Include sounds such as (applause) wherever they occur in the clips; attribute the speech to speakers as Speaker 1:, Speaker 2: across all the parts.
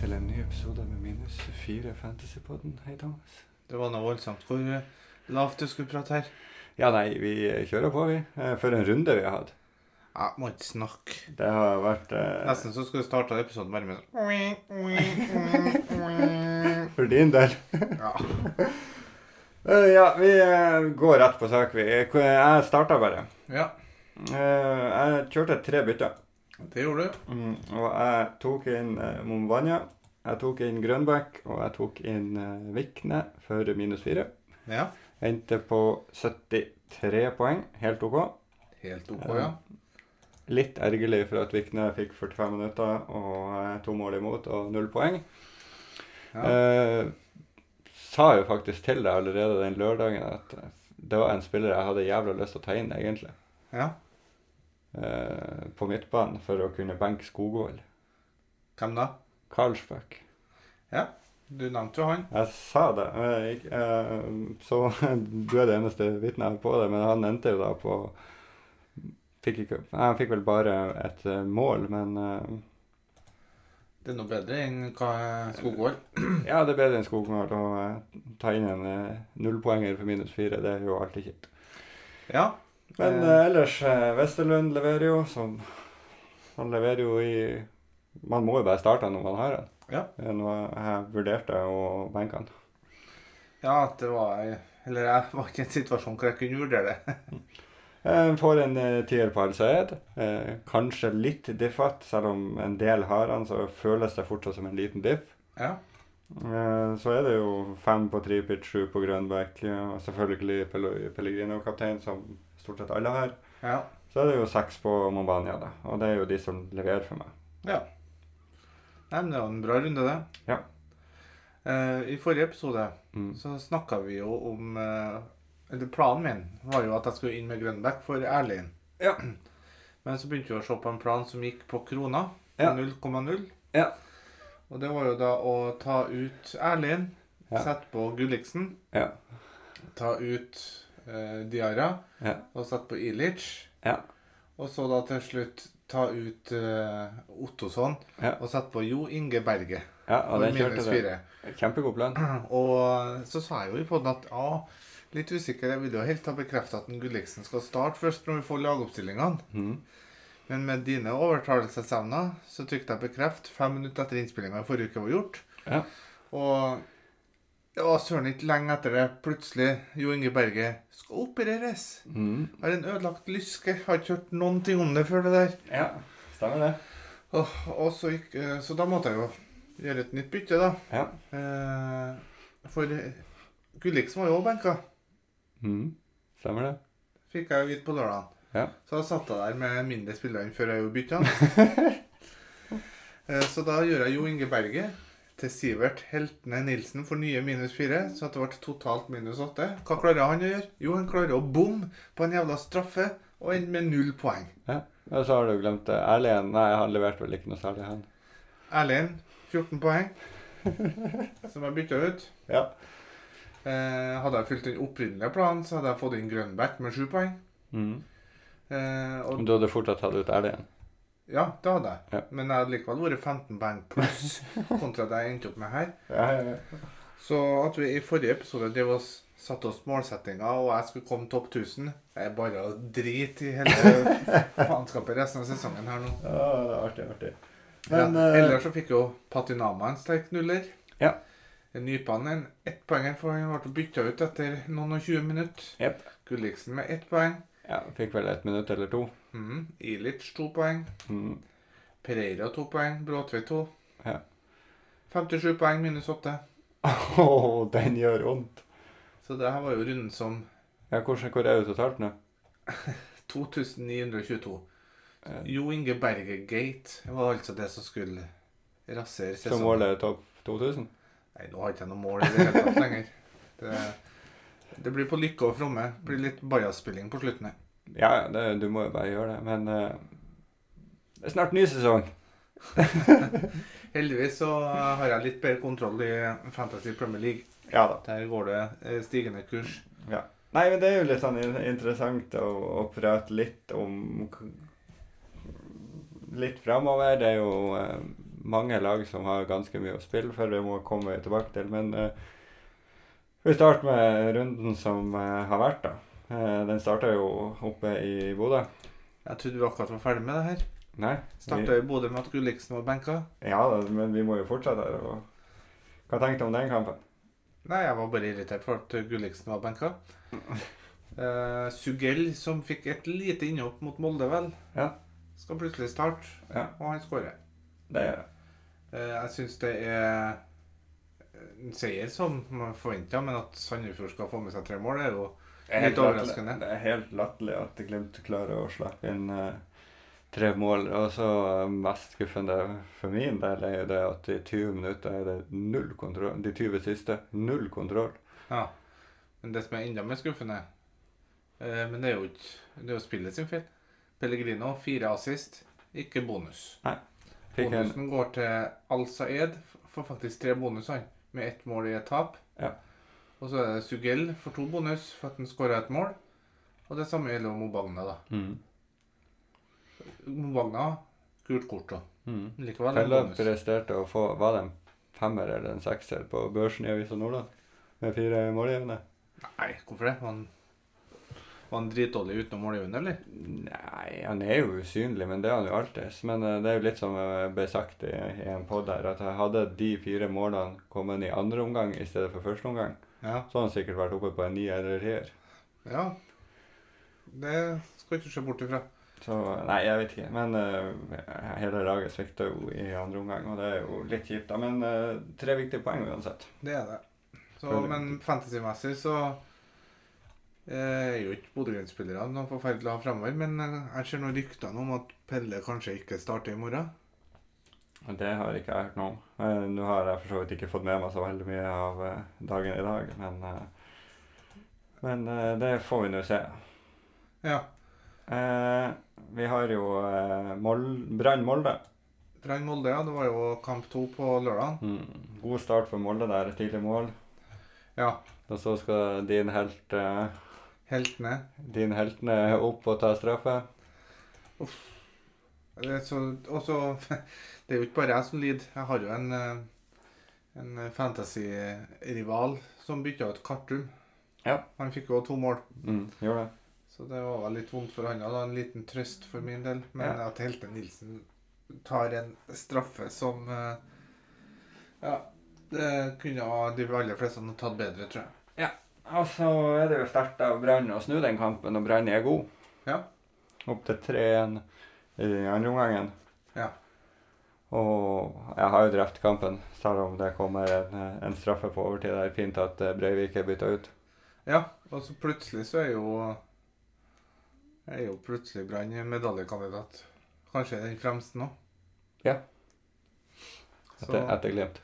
Speaker 1: til en ny episode med minus fire Fantasypodden. Hei, Thomas.
Speaker 2: Det var noe voldsomt. Hvor eh, lavt du skulle prate her?
Speaker 1: Ja, nei, vi kjører på, vi. Eh, For en runde vi har hatt.
Speaker 2: Ja, må ikke snakke.
Speaker 1: Det har vært eh,
Speaker 2: Nesten så skulle du starta episoden bare med sånn
Speaker 1: For din del.
Speaker 2: Ja.
Speaker 1: (laughs) Eh, Ja, vi eh, går rett på sak, vi. Eh, Jeg starta bare.
Speaker 2: ja.
Speaker 1: Eh, Jeg kjørte tre bytter.
Speaker 2: Det gjorde du.
Speaker 1: Mm, Og jeg tok inn eh, Mombanya. Jeg tok inn Grønbæk, og jeg tok inn eh, Vikne for minus fire.
Speaker 2: Ja.
Speaker 1: Endte på 73 poeng. Helt OK.
Speaker 2: Helt OK, ja.
Speaker 1: Litt ergerlig for at Vikne fikk 45 minutter og eh, to mål imot og null poeng.
Speaker 2: ja.
Speaker 1: Eh, sa jo faktisk til deg allerede den lørdagen at eh, det var en spiller jeg hadde jævla lyst til å ta inn, egentlig.
Speaker 2: ja.
Speaker 1: Eh, på midtbanen for å kunne benke Skogvold.
Speaker 2: Hvem da?
Speaker 1: Karlsbøk.
Speaker 2: Du nevnte jo han.
Speaker 1: Jeg sa det. eh, ikke- eh, så (laughs) du er det eneste vitnet jeg har på det, men han endte jo da på fikk ikke, Han fikk vel bare et eh, mål, men eh,
Speaker 2: Det er noe bedre enn hva Skogvold.
Speaker 1: ja, det er bedre enn Skogmål å eh, ta inn en eh, nullpoenger for minus fire. Det er jo alltid kjipt.
Speaker 2: Ja.
Speaker 1: Men
Speaker 2: Eh.
Speaker 1: eh, ellers, eh, Westerlund leverer jo som Han leverer jo i Man må jo bare starte han når man har han.
Speaker 2: Ja.
Speaker 1: Det er noe jeg vurderte å benke han.
Speaker 2: ja, at det var Eller jeg var ikke i en situasjon hvor jeg kunne vurdere det.
Speaker 1: Eh, Får en eh, tier på Al Saed. Eh, kanskje litt diffat, selv om en del har han, så føles det fortsatt som en liten diff.
Speaker 2: Ja.
Speaker 1: Eh, så er det jo fem på Tripic, sju på Grønbæk, ja, og selvfølgelig Pel- Pellegrino-kaptein, som stort sett alle har.
Speaker 2: Ja.
Speaker 1: Så er det jo seks på Mombania, da. Og det er jo de som leverer for meg.
Speaker 2: Ja. Nei, men det var en bra runde, det.
Speaker 1: Ja.
Speaker 2: Eh, I forrige episode
Speaker 1: Mm.
Speaker 2: så snakka vi jo om eh, Eller planen min var jo at jeg skulle inn med Grønbæk for Erlend.
Speaker 1: Ja.
Speaker 2: (clears throat) Men så begynte vi å se på en plan som gikk på krona.
Speaker 1: Ja.
Speaker 2: 0,0.
Speaker 1: Ja.
Speaker 2: Og det var jo da å ta ut Erlend,
Speaker 1: Ja.
Speaker 2: sette på Gulliksen,
Speaker 1: Ja.
Speaker 2: ta ut eh, Diara
Speaker 1: Ja.
Speaker 2: og sette på Ilic.
Speaker 1: Ja.
Speaker 2: Og så da til slutt ta ut eh, Ottosson
Speaker 1: Ja.
Speaker 2: og sette på Jo Inge Berge.
Speaker 1: Ja, og
Speaker 2: For
Speaker 1: den
Speaker 2: minus
Speaker 1: kjørte du.
Speaker 2: fire.
Speaker 1: Kjempegod plan.
Speaker 2: Og så sa jeg jo i podden at ja, litt usikker. Jeg ville jo helt ha bekreftet at en Gulliksen skal starte først når vi får lagoppstillingene.
Speaker 1: Mhm.
Speaker 2: Men med dine overtalelsesevner så trykte jeg bekreft fem minutter etter innspillinga i forrige uke var gjort.
Speaker 1: Ja.
Speaker 2: Og det var søren ikke lenge etter det plutselig Jo Inge Berge skal opereres.
Speaker 1: Mhm.
Speaker 2: Har en ødelagt lyske. Har ikke hørt noen ting om det før det der.
Speaker 1: Ja, stemmer det.
Speaker 2: Og, og så, gikk, eh, så da måtte jeg jo gjøre et nytt bytte, da.
Speaker 1: Ja.
Speaker 2: Eh, for Gulliksen var jo også benka,
Speaker 1: Mhm. Stemmer det.
Speaker 2: fikk jeg jo vite på lørdagen.
Speaker 1: Ja.
Speaker 2: Så da satt jeg der med mindre spillere enn før jeg gjorde bytta. eh, så da gjør jeg Jo Inge Berge til Sivert Heltene Nilsen for nye minus fire, så at det ble totalt minus åtte. Hva klarer han å gjøre? Jo, han klarer å bomme på en jævla straffe og ende med null poeng.
Speaker 1: Og så har du glemt det. Erlend, nei, han leverte vel ikke noe særlig, han.
Speaker 2: Erlend, 14 poeng, som jeg bytta ut.
Speaker 1: Ja.
Speaker 2: Eh, hadde jeg fulgt den opprinnelige planen, så hadde jeg fått inn Grønbæk med 7 poeng.
Speaker 1: Mhm.
Speaker 2: Eh, og,
Speaker 1: Du hadde fortsatt tatt ut Erlend.
Speaker 2: ja, det hadde jeg.
Speaker 1: Ja.
Speaker 2: Men jeg hadde likevel vært 15 poeng pluss
Speaker 1: (laughs)
Speaker 2: kontra det jeg endte opp med her.
Speaker 1: Ja, ja, ja.
Speaker 2: Så at vi i forrige episode drev oss, satte oss målsettinger, og jeg skulle komme topp 1000 Det er bare å drite i hele
Speaker 1: (laughs)
Speaker 2: faenskapet resten av sesongen her nå.
Speaker 1: Ja, det er artig, artig. Men,
Speaker 2: Men,
Speaker 1: eh,
Speaker 2: Ellers så fikk jo Patinama en sterk nuller.
Speaker 1: Ja.
Speaker 2: Nypan en ettpoenger, for han ble bytta ut etter noen og 20 minutter.
Speaker 1: Jep.
Speaker 2: Gulliksen med ett poeng.
Speaker 1: Ja, fikk vel et minutt eller to.
Speaker 2: Mm. Ilic to poeng.
Speaker 1: Mhm.
Speaker 2: Pereira to poeng. Bråtvedt to.
Speaker 1: Ja.
Speaker 2: 57 poeng minus 8.
Speaker 1: (laughs) Åh, den gjør vondt.
Speaker 2: Så det her var jo runden som
Speaker 1: Ja, hvordan, hvor er du totalt nå?
Speaker 2: 2922.
Speaker 1: Eh,
Speaker 2: Jo Inge Berge Gate var altså det som skulle rasere
Speaker 1: Så målet er topp 2000?
Speaker 2: Nei, nå har ikke jeg noe mål i det hele tatt lenger. Det, det blir på lykke og fromme. Det blir litt bajaspilling på slutten her.
Speaker 1: Ja, ja, det- du må jo bare gjøre det. Men eh, det er snart ny sesong.
Speaker 2: Heldigvis så har jeg litt bedre kontroll i Fantasy Premier League.
Speaker 1: Ja da.
Speaker 2: Der går det eh, stigende kurs.
Speaker 1: Nei, men det er jo litt sånn in- interessant å, å prate litt om k- Litt framover. Det er jo eh, mange lag som har ganske mye å spille for, det må jeg komme tilbake til. Men eh, vi starter med runden som eh, har vært, da. Eh, den starta jo oppe i Bodø.
Speaker 2: Jeg trodde vi akkurat var ferdig med det her.
Speaker 1: Nei? vi-
Speaker 2: Starta i Bodø med at Gulliksen var benka.
Speaker 1: Ja da, men vi må jo fortsette her. Og... Hva tenkte du om den kampen?
Speaker 2: Nei, jeg var bare irritert for at Gulliksen var benka.
Speaker 1: (laughs)
Speaker 2: Eh, Sugell, som fikk et lite innhopp mot Molde, vel,
Speaker 1: Ja.
Speaker 2: skal plutselig starte,
Speaker 1: Ja.
Speaker 2: og han skårer.
Speaker 1: Det er
Speaker 2: Eh, jeg syns det er en seier som man forventa, men at Sandefjord skal få med seg tre mål, det er jo Litt overraskende.
Speaker 1: Det er helt latterlig at Glimt klarer å slappe inn eh, tre mål. Og så eh, mest skuffende for min del er jo det at i 20 minutter er det null kontroll. De 20 siste, null kontroll.
Speaker 2: Ja. Men det som er enda mer skuffende eh, Men det er jo ikke Det er jo spillet sin feil. Pellegrino, fire assist, ikke bonus.
Speaker 1: Fikk en,
Speaker 2: Bonusen går til Al-Saed, får faktisk tre bonuser, han, med ett mål i et tap.
Speaker 1: Ja.
Speaker 2: Og så er det Sugell for to bonus for at han skåra et mål. Og det samme gjelder jo Mobagna, da.
Speaker 1: mm,
Speaker 2: Mobagna, gult kort òg.
Speaker 1: mm.
Speaker 2: Likevel en
Speaker 1: Pelle
Speaker 2: bonus.
Speaker 1: presterte å få Var det en femmer eller en sekser på børsen i Avisa Nordland? Med fire målgivende?
Speaker 2: Nei, hvorfor det? Var han, var han dritdårlig utenom målgivende, eller?
Speaker 1: Nei, han er jo usynlig, men det er han jo alltid. Men eh, det er jo litt som eh, ble sagt i, i en podd her, at hadde de fire målene kommet i andre omgang i stedet for første omgang,
Speaker 2: Ja.
Speaker 1: så hadde han sikkert vært oppe på en ni eller tier.
Speaker 2: ja. Det skal ikke se bort ifra.
Speaker 1: Så nei, jeg vet ikke. Men eh, hele laget svikta jo i andre omgang, og det er jo litt kjipt, da. Men eh, tre viktige poeng uansett.
Speaker 2: Det er det. Så,
Speaker 1: Føler-
Speaker 2: men fantasymessig så eh, er jo ikke Bodø-Glimt-spillerne noe forferdelig å ha framover. Men eh, jeg ser nå ryktene om at Pelle kanskje ikke starter i morgen.
Speaker 1: Og Det har ikke jeg hørt noe om. Eh, Nå har jeg for så vidt ikke fått med meg så veldig mye av eh, dagen i dag, men eh, Men eh, det får vi nå se.
Speaker 2: Ja.
Speaker 1: Eh, vi har jo eh, Mol Brann Molde.
Speaker 2: Brann Molde, ja. Det var jo kamp to på lørdag.
Speaker 1: God start for Molde der, tidlig mål.
Speaker 2: Ja.
Speaker 1: Og så skal din helt eh,
Speaker 2: Heltene.
Speaker 1: din heltene opp og ta straffe.
Speaker 2: Det er Eh, så, og så- (laughs) Det er jo ikke bare jeg som lider. Jeg har jo en, eh, en fantasy-rival som bytta ut Kartum.
Speaker 1: Ja.
Speaker 2: Han fikk jo to mål.
Speaker 1: Mm, gjorde det.
Speaker 2: Så det var vel litt vondt for han òg, da. En liten trøst for min del. Men at Helte Nilsen tar en straffe som eh, Ja, det kunne ha de aller fleste ha tatt bedre, tror jeg.
Speaker 1: Og så er det jo sterkt av Brann å snu den kampen, og Brann er god.
Speaker 2: Ja.
Speaker 1: Opp til 3-1 i andre omgangen.
Speaker 2: Ja.
Speaker 1: Og jeg har jo drept kampen, selv om det kommer en, eh, en straffe på overtid. Det er fint at eh, Breivik er bytta ut.
Speaker 2: Ja, og så plutselig så er jo Er jo plutselig Brann en medaljekandidat. Kanskje den fremste nå.
Speaker 1: Ja.
Speaker 2: Så,
Speaker 1: Etter, etter Glimt.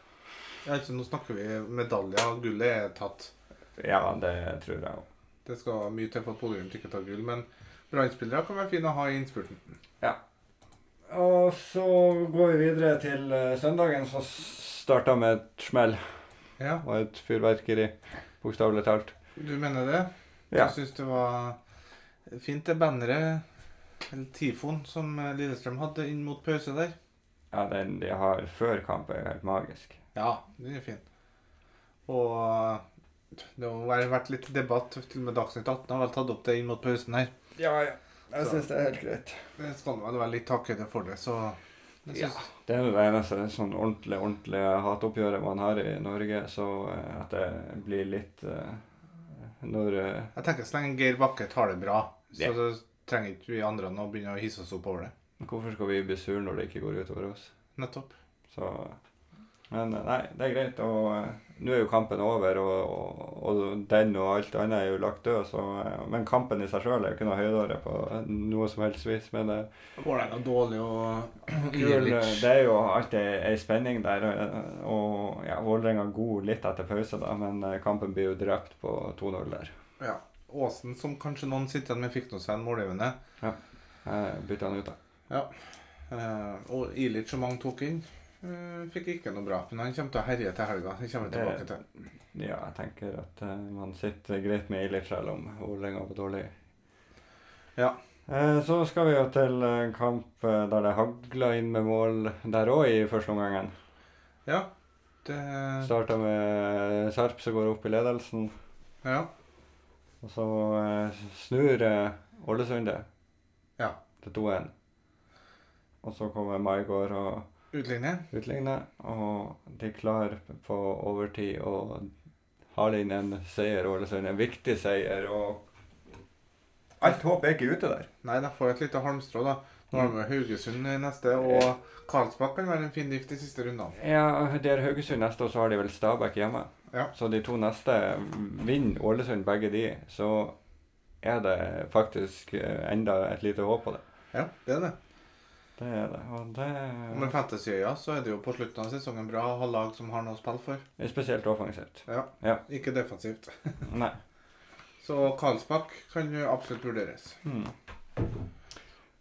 Speaker 2: ja, så nå snakker vi medaljer. Gullet er tatt.
Speaker 1: Ja, det tror jeg òg.
Speaker 2: Det skal mye til for at Bodø Glimt ikke tar gull, men Brann-spillere kan være fine å ha i innspurten.
Speaker 1: Og så går vi videre til eh, søndagen, som starta med et smell
Speaker 2: Ja,
Speaker 1: og et fyrverkeri. Bokstavelig talt.
Speaker 2: du mener det?
Speaker 1: Ja.
Speaker 2: Jeg syns det var fint det banneret, eller tifoen, som eh, Lillestrøm hadde inn mot pause der.
Speaker 1: ja, den de har før kamp, er jo helt magisk.
Speaker 2: Ja, den er fin. Og det har vært litt debatt, til og med Dagsnytt 18 har vel tatt opp det inn mot pausen her.
Speaker 1: Ja, ja.
Speaker 2: Jeg synes
Speaker 1: det er helt greit.
Speaker 2: Det skal vel være litt takhøyde for det, så jeg
Speaker 1: Ja.
Speaker 2: synes,
Speaker 1: Det er jo det eneste sånn ordentlig ordentlig hatoppgjøret man har i Norge, så eh, at det blir litt eh, Når eh,
Speaker 2: Jeg tenker så lenge Geir Bakke tar det bra, så
Speaker 1: Ja.
Speaker 2: så trenger ikke vi andre nå å begynne å hisse oss opp over det.
Speaker 1: Hvorfor skal vi bli sure når det ikke går utover oss?
Speaker 2: Nettopp.
Speaker 1: Så Men eh, nei, det er greit. Og eh, nå er jo kampen over, og, og, og den og alt annet er jo lagt død, så eh, Men kampen i seg sjøl er jo ikke noe høydere på noe som helst vis. Men eh,
Speaker 2: Vålerenga dårlig og
Speaker 1: kul, eh, det er jo alltid ei spenning der. eh, Og ja, Vålerenga god litt etter pause, da, men eh, kampen blir jo drept på 2-0 der.
Speaker 2: Ja. Åsen, som kanskje noen sitter igjen med, fikk nå seg en målgivende.
Speaker 1: Jeg bytter han ut, da.
Speaker 2: Eh, og Ilic, som han tok inn, eh, fikk ikke noe bra. Men han kommer til å herje til helga. Det kommer vi tilbake til.
Speaker 1: Ja, jeg tenker at eh, man sitter greit med Ilic selv om Vålerenga var dårlig.
Speaker 2: Ja.
Speaker 1: Eh, Så skal vi jo til en kamp eh, der det hagla inn med mål der òg i første omgangen.
Speaker 2: Ja. Det
Speaker 1: Starta med eh, Sarp som går opp i ledelsen,
Speaker 2: Ja.
Speaker 1: og så eh, snur eh, Ålesund det
Speaker 2: Ja.
Speaker 1: til 2-1. Og så kommer Maigård og
Speaker 2: Utligne.
Speaker 1: utligner, og de klarer på overtid å hale inn en seier, Ålesund. En viktig seier, og alt håp er ikke ute der.
Speaker 2: Nei, de får et lite halmstrå, da. Nå har vi Haugesund i neste, og Karlsbakk kan være en fin diff de siste rundene.
Speaker 1: Ja, det er Haugesund neste, og så har de vel Stabæk hjemme.
Speaker 2: Ja.
Speaker 1: Så de to neste vinner Ålesund begge de, så er det faktisk eh, enda et lite håp på det.
Speaker 2: Ja, det er det.
Speaker 1: Det er det. Og
Speaker 2: Og med
Speaker 1: det
Speaker 2: fantasyøya så er det jo på slutten av sesongen bra å ha lag som har noe å spille for.
Speaker 1: er spesielt offensivt.
Speaker 2: Ikke defensivt.
Speaker 1: Nei.
Speaker 2: Så Karlsbakk kan jo absolutt vurderes.
Speaker 1: Hmm.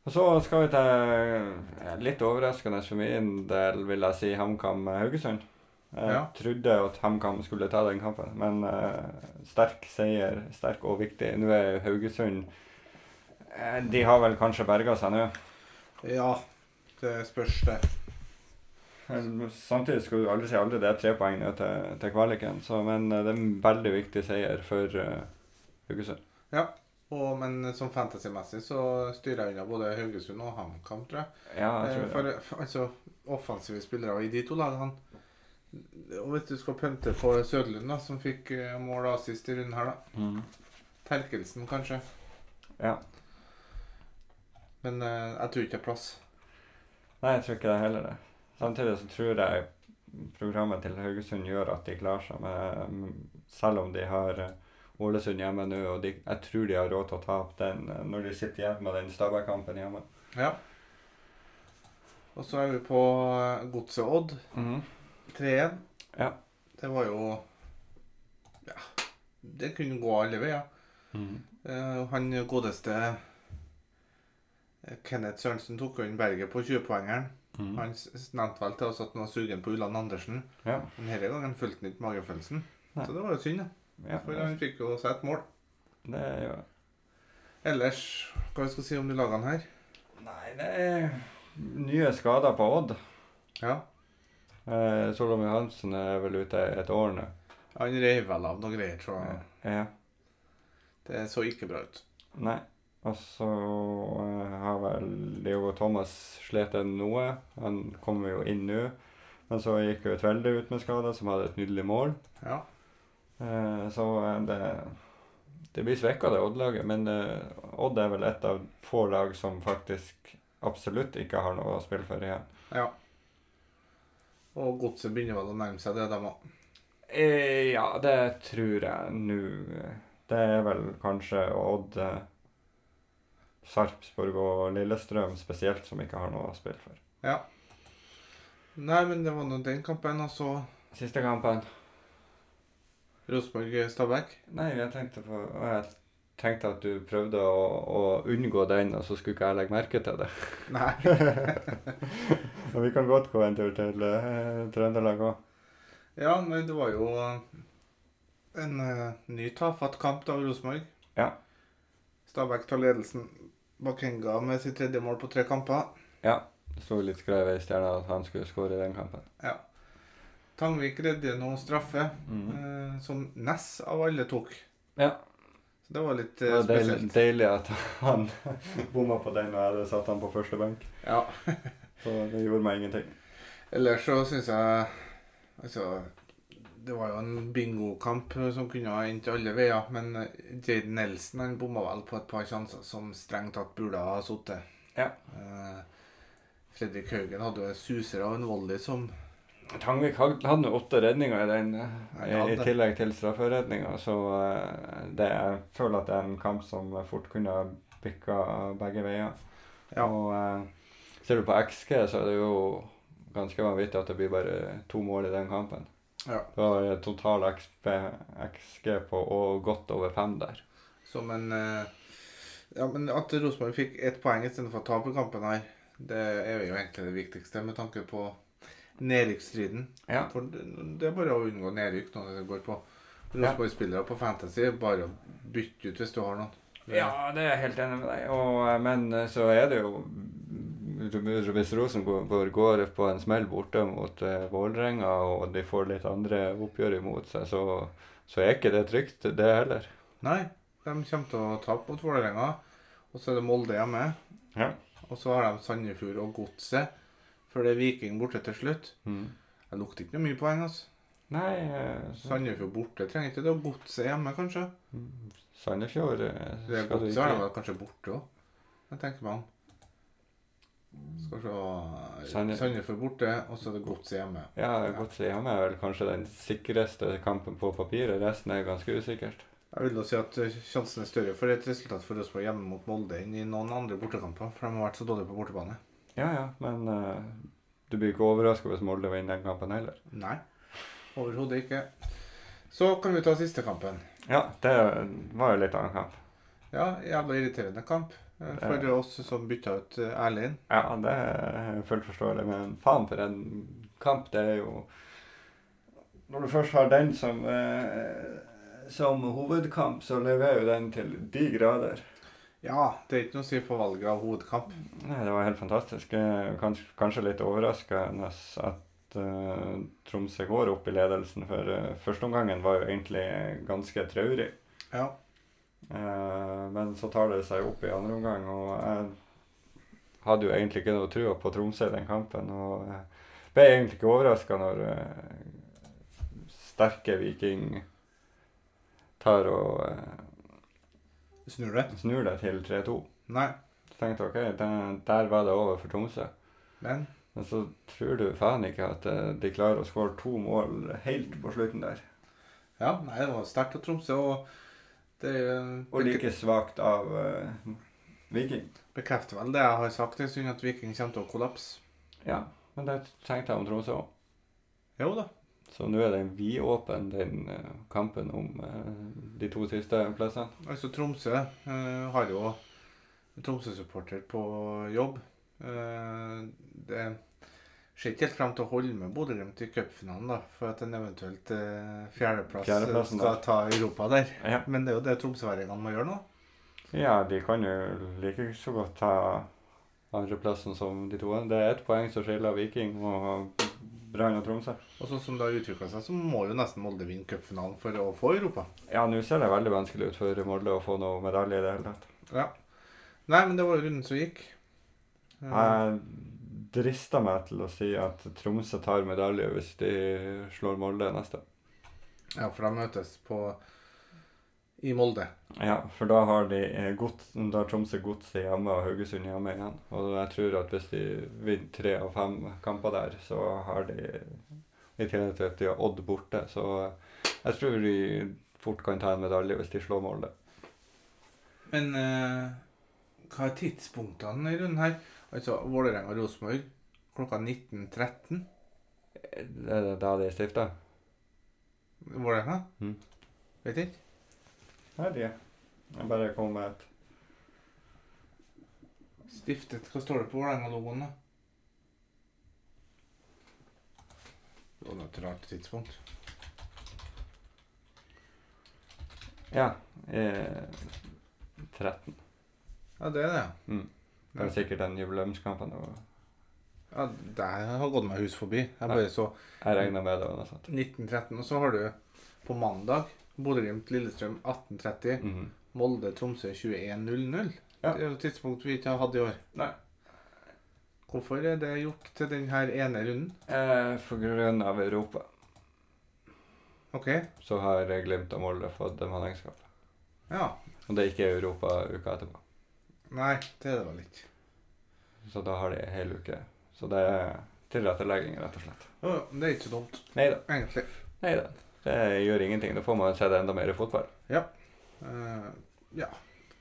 Speaker 1: Og så skal vi til eh, litt overraskende for min del, vil jeg si, HamKam eh, Haugesund. Jeg
Speaker 2: Ja.
Speaker 1: trodde jo at HamKam skulle ta den kampen, men eh, sterk seier, sterk og viktig. Nå er Haugesund eh, De har vel kanskje berga seg nå.
Speaker 2: Ja, det spørs, det.
Speaker 1: Men Samtidig skal du aldri si aldri. Det er tre poeng nå til, til kvaliken, så, men eh, det er en veldig viktig seier for eh, Haugesund.
Speaker 2: Og, men sånn fantasymessig så styrer jeg unna både Haugesund og HamKam, tror jeg.
Speaker 1: Ja,
Speaker 2: Eh,
Speaker 1: jeg tror
Speaker 2: For,
Speaker 1: det.
Speaker 2: for altså, offensive spillere i de to lagene Og hvis du skal pønte på Sødlund, da, som fikk eh, mål og assist i runden her, da.
Speaker 1: Mm.
Speaker 2: Terkelsen, kanskje.
Speaker 1: Ja.
Speaker 2: Men eh, jeg tror ikke det er plass.
Speaker 1: Nei, jeg tror ikke det heller. det. Samtidig så tror jeg programmet til Haugesund gjør at de klarer seg, med, selv om de har eh, Ålesund hjemme nå. Og de, jeg tror de har råd til å tape den eh, når de sitter igjen med den Stabæk-kampen hjemme.
Speaker 2: Ja. Og så er vi på eh, Godset Odd. 3-1.
Speaker 1: Ja.
Speaker 2: Det var jo Ja. Det kunne gå alle veier. Eh, han godeste eh, Kenneth Sørensen tok jo inn Berget på 20-poengeren. Han s- s- nevnte vel til oss at han var sugen på Ulland Andersen,
Speaker 1: Ja.
Speaker 2: men denne gangen fulgte han ikke magefølelsen.
Speaker 1: Nei.
Speaker 2: Så det var jo synd, da.
Speaker 1: ja,
Speaker 2: For han fikk jo seg et mål.
Speaker 1: det gjør jeg.
Speaker 2: Ellers, hva vi skal si om de lagene her?
Speaker 1: Nei, det er nye skader på Odd.
Speaker 2: Ja.
Speaker 1: Eh, Solom Johansen er vel ute et år nå.
Speaker 2: Han reiv vel av noe greier, så
Speaker 1: Ja.
Speaker 2: det så ikke bra ut.
Speaker 1: Nei. Og så eh, har vel Leo Thomas slet noe. Han kommer jo inn nå. Men så gikk jo Tvelde ut med skade, som hadde et nydelig mål.
Speaker 2: Ja.
Speaker 1: Eh, så eh, det Det blir svekka, det Odd-laget. Men eh, Odd er vel et av få lag som faktisk absolutt ikke har noe å spille for igjen.
Speaker 2: ja. Og godset begynner vel å nærme seg det, de òg.
Speaker 1: Eh, ja, det tror jeg nå. Det er vel kanskje Odd, eh, Sarpsborg og Lillestrøm spesielt som ikke har noe å spille for.
Speaker 2: Nei, men det var nå den kampen, og så
Speaker 1: Siste kampen
Speaker 2: Rosenborg-Stabæk.
Speaker 1: Nei, jeg tenkte på Jeg tenkte at du prøvde å, å unngå den, og så skulle ikke jeg legge merke til (laughs) det.
Speaker 2: Nei.
Speaker 1: Men vi kan godt gå en tur til eh, Trøndelag òg.
Speaker 2: Ja, nei, det var jo eh, en eh, ny tafatt kamp av Rosenborg.
Speaker 1: Ja.
Speaker 2: Stabæk tar ledelsen bak Henga med sitt tredje mål på tre kamper.
Speaker 1: Det sto litt skrevet i stjerna at han skulle skåre i den kampen.
Speaker 2: Tangvik redder nå straffe,
Speaker 1: Mhm.
Speaker 2: eh, som Ness av alle tok.
Speaker 1: Ja.
Speaker 2: Så det var litt
Speaker 1: Det
Speaker 2: eh,
Speaker 1: var deilig,
Speaker 2: spesielt.
Speaker 1: deilig at han (laughs) bomma på den, og jeg hadde satt han på første benk.
Speaker 2: Ja.
Speaker 1: Så det gjorde meg ingenting.
Speaker 2: Ellers så syns jeg Altså, det var jo en bingokamp som kunne ha endt alle veier, men Jaden Nelson han bomma vel på et par sjanser som strengt tatt burde ha sittet.
Speaker 1: Ja.
Speaker 2: Eh, Fredrik Haugen hadde jo en suser av en volley som
Speaker 1: Tangvik had- hadde nå åtte redninger i den, eh,
Speaker 2: Ja,
Speaker 1: i, i
Speaker 2: det-
Speaker 1: tillegg til strafferedninga, så eh, det, jeg føler at det er en kamp som fort kunne ha bikka begge veier.
Speaker 2: Ja.
Speaker 1: Og eh, ser du på XG, så er det jo ganske vanvittig at det blir bare to mål i den kampen.
Speaker 2: Ja.
Speaker 1: Det var eh, total XP, XG på og godt over fem der.
Speaker 2: Som en eh, Ja, men at Rosenborg fikk ett poeng istedenfor å tape kampen her, det er jo egentlig det viktigste med tanke på nedrykksstriden.
Speaker 1: Ja.
Speaker 2: For det det er bare å unngå nedrykk når det går på. Rosenborg-spillere på Fantasy, bare å bytte ut hvis du har noen.
Speaker 1: Ja, det er jeg helt enig med deg og, eh, Men eh, så er det jo Ru- Hvis Rosenborg går på en smell borte mot eh, Vålerenga, og de får litt andre oppgjør imot seg, så, så er ikke det trygt, det heller.
Speaker 2: Nei, de kommer til å tape mot Vålerenga. Og så er det Molde hjemme.
Speaker 1: Ja.
Speaker 2: Og så har de Sandefjord og Godset. Før det er Viking borte til slutt.
Speaker 1: Mm.
Speaker 2: Det lukter ikke noe mye poeng, altså.
Speaker 1: Nei, eh, så- mm.
Speaker 2: Sandefjord borte trenger ikke det. Og Godset hjemme, kanskje.
Speaker 1: Sandefjord
Speaker 2: Det
Speaker 1: eh,
Speaker 2: er
Speaker 1: skal du
Speaker 2: Godset har de
Speaker 1: ikke
Speaker 2: vel kanskje borte òg. Jeg tenker meg om. Skal se
Speaker 1: Sande-
Speaker 2: Sandefjord borte, og så er det Godset hjemme.
Speaker 1: Ja, Godset hjemme er vel kanskje den sikreste kampen på papiret. Resten er ganske usikkert.
Speaker 2: Jeg vil da si at eh, sjansen er større for et resultat for Rosenborg hjemme mot Molde enn i noen andre bortekamper, for de har vært så dårlige på bortebane.
Speaker 1: Ja, ja, men eh, du blir ikke overraska hvis Molde vinner den kampen heller.
Speaker 2: Nei, overhodet ikke. Så kan vi ta siste kampen.
Speaker 1: Ja, det var jo litt annen kamp.
Speaker 2: Ja, jævla irriterende kamp eh, for
Speaker 1: Det-
Speaker 2: oss som bytta ut eh, Erlind.
Speaker 1: Ja, det er fullt forståelig, men faen for en kamp. Det er jo Når du først har den som, eh, som hovedkamp, så leverer jo den til de grader.
Speaker 2: Ja, det er ikke noe å si på valget av hovedkamp.
Speaker 1: Nei, det var helt fantastisk. Eh, Kans kanskje litt overraskende at eh, Tromsø går opp i ledelsen, for eh, førsteomgangen var jo egentlig ganske traurig.
Speaker 2: Ja,
Speaker 1: Eh, men så tar det seg opp i andre omgang, og jeg hadde jo egentlig ikke noe trua på Tromsø i den kampen. Og jeg ble egentlig ikke overraska når eh, sterke Viking tar og eh,
Speaker 2: snur det?
Speaker 1: snur det til 3-2.
Speaker 2: Nei,
Speaker 1: Så tenkte jeg OK, den, der var det over for Tromsø.
Speaker 2: men
Speaker 1: Men så tror du faen ikke at eh, de klarer å skåre to mål helt på slutten der.
Speaker 2: Ja, nei, det var sterkt av Tromsø, og det eh,
Speaker 1: Og like svakt av eh, Viking.
Speaker 2: bekrefter vel det jeg har sagt en stund, at Viking kommer til å kollapse.
Speaker 1: Ja, men det tenkte jeg om Tromsø òg.
Speaker 2: Jo da.
Speaker 1: Så nå er den vidåpen, den eh, kampen om eh, de to siste plassene.
Speaker 2: Altså, Tromsø eh, har jo Tromsø-supporter på jobb. Eh, det ser ikke helt frem til å holde med Bodø-Glimt i cupfinalen, da, for at en eventuelt eh, fjerdeplass eh,
Speaker 1: Fjerdeplassen,
Speaker 2: skal
Speaker 1: da.
Speaker 2: ta Europa der.
Speaker 1: Ja.
Speaker 2: Men det er jo det tromsøværingene må gjøre nå.
Speaker 1: ja, de kan jo like så godt ta andreplassen som de to. Det er ett poeng som skiller Viking og Brann og Tromsø.
Speaker 2: Og sånn som det har utvikla seg, så må jo nesten Molde vinne cupfinalen for å få Europa.
Speaker 1: Ja, nå ser det veldig vanskelig ut for Molde å få noe medalje i det hele tatt.
Speaker 2: Ja. Nei, men det var jo runden som gikk. Eh,
Speaker 1: Jeg drister meg til å si at Tromsø tar medalje hvis de slår Molde neste.
Speaker 2: Ja, for de møtes på i Molde.
Speaker 1: Ja, for da har de eh, gods, da har Tromsø gods hjemme og Haugesund hjemme igjen. Og jeg tror at hvis de vinner tre av fem kamper der, så har de I tillegg til at de har Odd borte, så jeg tror de fort kan ta en medalje hvis de slår Molde.
Speaker 2: Men eh, hva er tidspunktene i runden her? Altså Vålerenga og Rosenborg klokka 19.13.
Speaker 1: Er det da de er stifta?
Speaker 2: Vålerenga?
Speaker 1: Mhm.
Speaker 2: Vet ikke.
Speaker 1: Ja, de er. Jeg bare kom med et
Speaker 2: Stiftet Hva står det på Vålerenga-logoen, da? Det var et rart tidspunkt.
Speaker 1: Ja. Eh, 13.
Speaker 2: Ja, det er det.
Speaker 1: Mm. Det er sikkert den jubileumskampen. og...
Speaker 2: Ja, Det har gått meg hus forbi. Jeg bare så
Speaker 1: Jeg regner med det var noe sånt.
Speaker 2: 19.13, og så har du på mandag Bodø-Glimt-Lillestrøm 18.30.
Speaker 1: Mhm.
Speaker 2: Molde-Tromsø 21.00.
Speaker 1: Ja.
Speaker 2: Det er jo et tidspunkt vi ikke har hatt i år.
Speaker 1: Nei.
Speaker 2: Hvorfor er det gjort til denne ene runden?
Speaker 1: eh, for grunn av Europa
Speaker 2: OK,
Speaker 1: så har Glimt og Molde fått det mannskapet.
Speaker 2: ja.
Speaker 1: Og det er ikke Europa uka etterpå.
Speaker 2: Nei, det er det vel ikke.
Speaker 1: Så da har de en hel uke. Så det er tilrettelegging, rett og slett.
Speaker 2: Å, Det er ikke så dumt,
Speaker 1: Nei da.
Speaker 2: egentlig.
Speaker 1: Det gjør ingenting. Da får man se det enda mer i fotball.
Speaker 2: Eh, ja.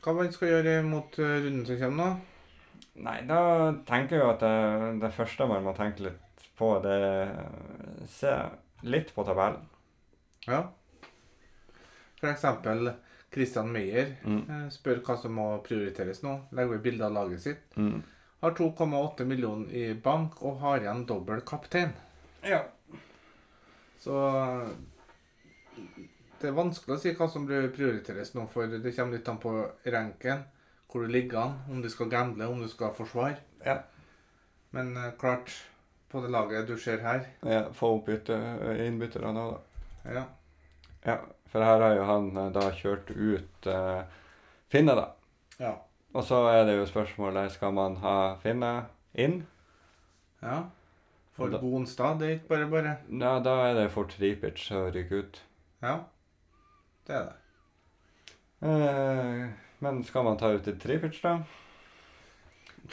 Speaker 2: Hva man skal gjøre mot eh, runden som kommer nå?
Speaker 1: Nei, da tenker jeg jo at det, det første man må tenke litt på, det er Se litt på tabellen.
Speaker 2: Ja. For eksempel Christian Meyer
Speaker 1: Mm.
Speaker 2: eh, spør hva som må prioriteres nå. Legger vi bilde av laget sitt.
Speaker 1: Mm.
Speaker 2: Har 2,8 millioner i bank og har igjen dobbel kaptein.
Speaker 1: Ja.
Speaker 2: Så det er vanskelig å si hva som bør prioriteres nå, for det kommer litt an på ranken, hvor du ligger an, om du skal gamble, om du skal forsvare.
Speaker 1: Ja.
Speaker 2: Men eh, klart, på det laget du ser her
Speaker 1: Ja, få opp bytte, innbytterne òg, da.
Speaker 2: ja.
Speaker 1: Ja, for her har jo han eh, da kjørt ut eh, Finne, da.
Speaker 2: ja.
Speaker 1: Og så er det jo spørsmålet skal man ha Finne inn.
Speaker 2: ja. For
Speaker 1: Da-
Speaker 2: god onsdag, det er ikke bare bare.
Speaker 1: Ja, da er det fort Ripic å ryke ut.
Speaker 2: Ja, det er det.
Speaker 1: Eh, men skal man ta ut et Tripic, da?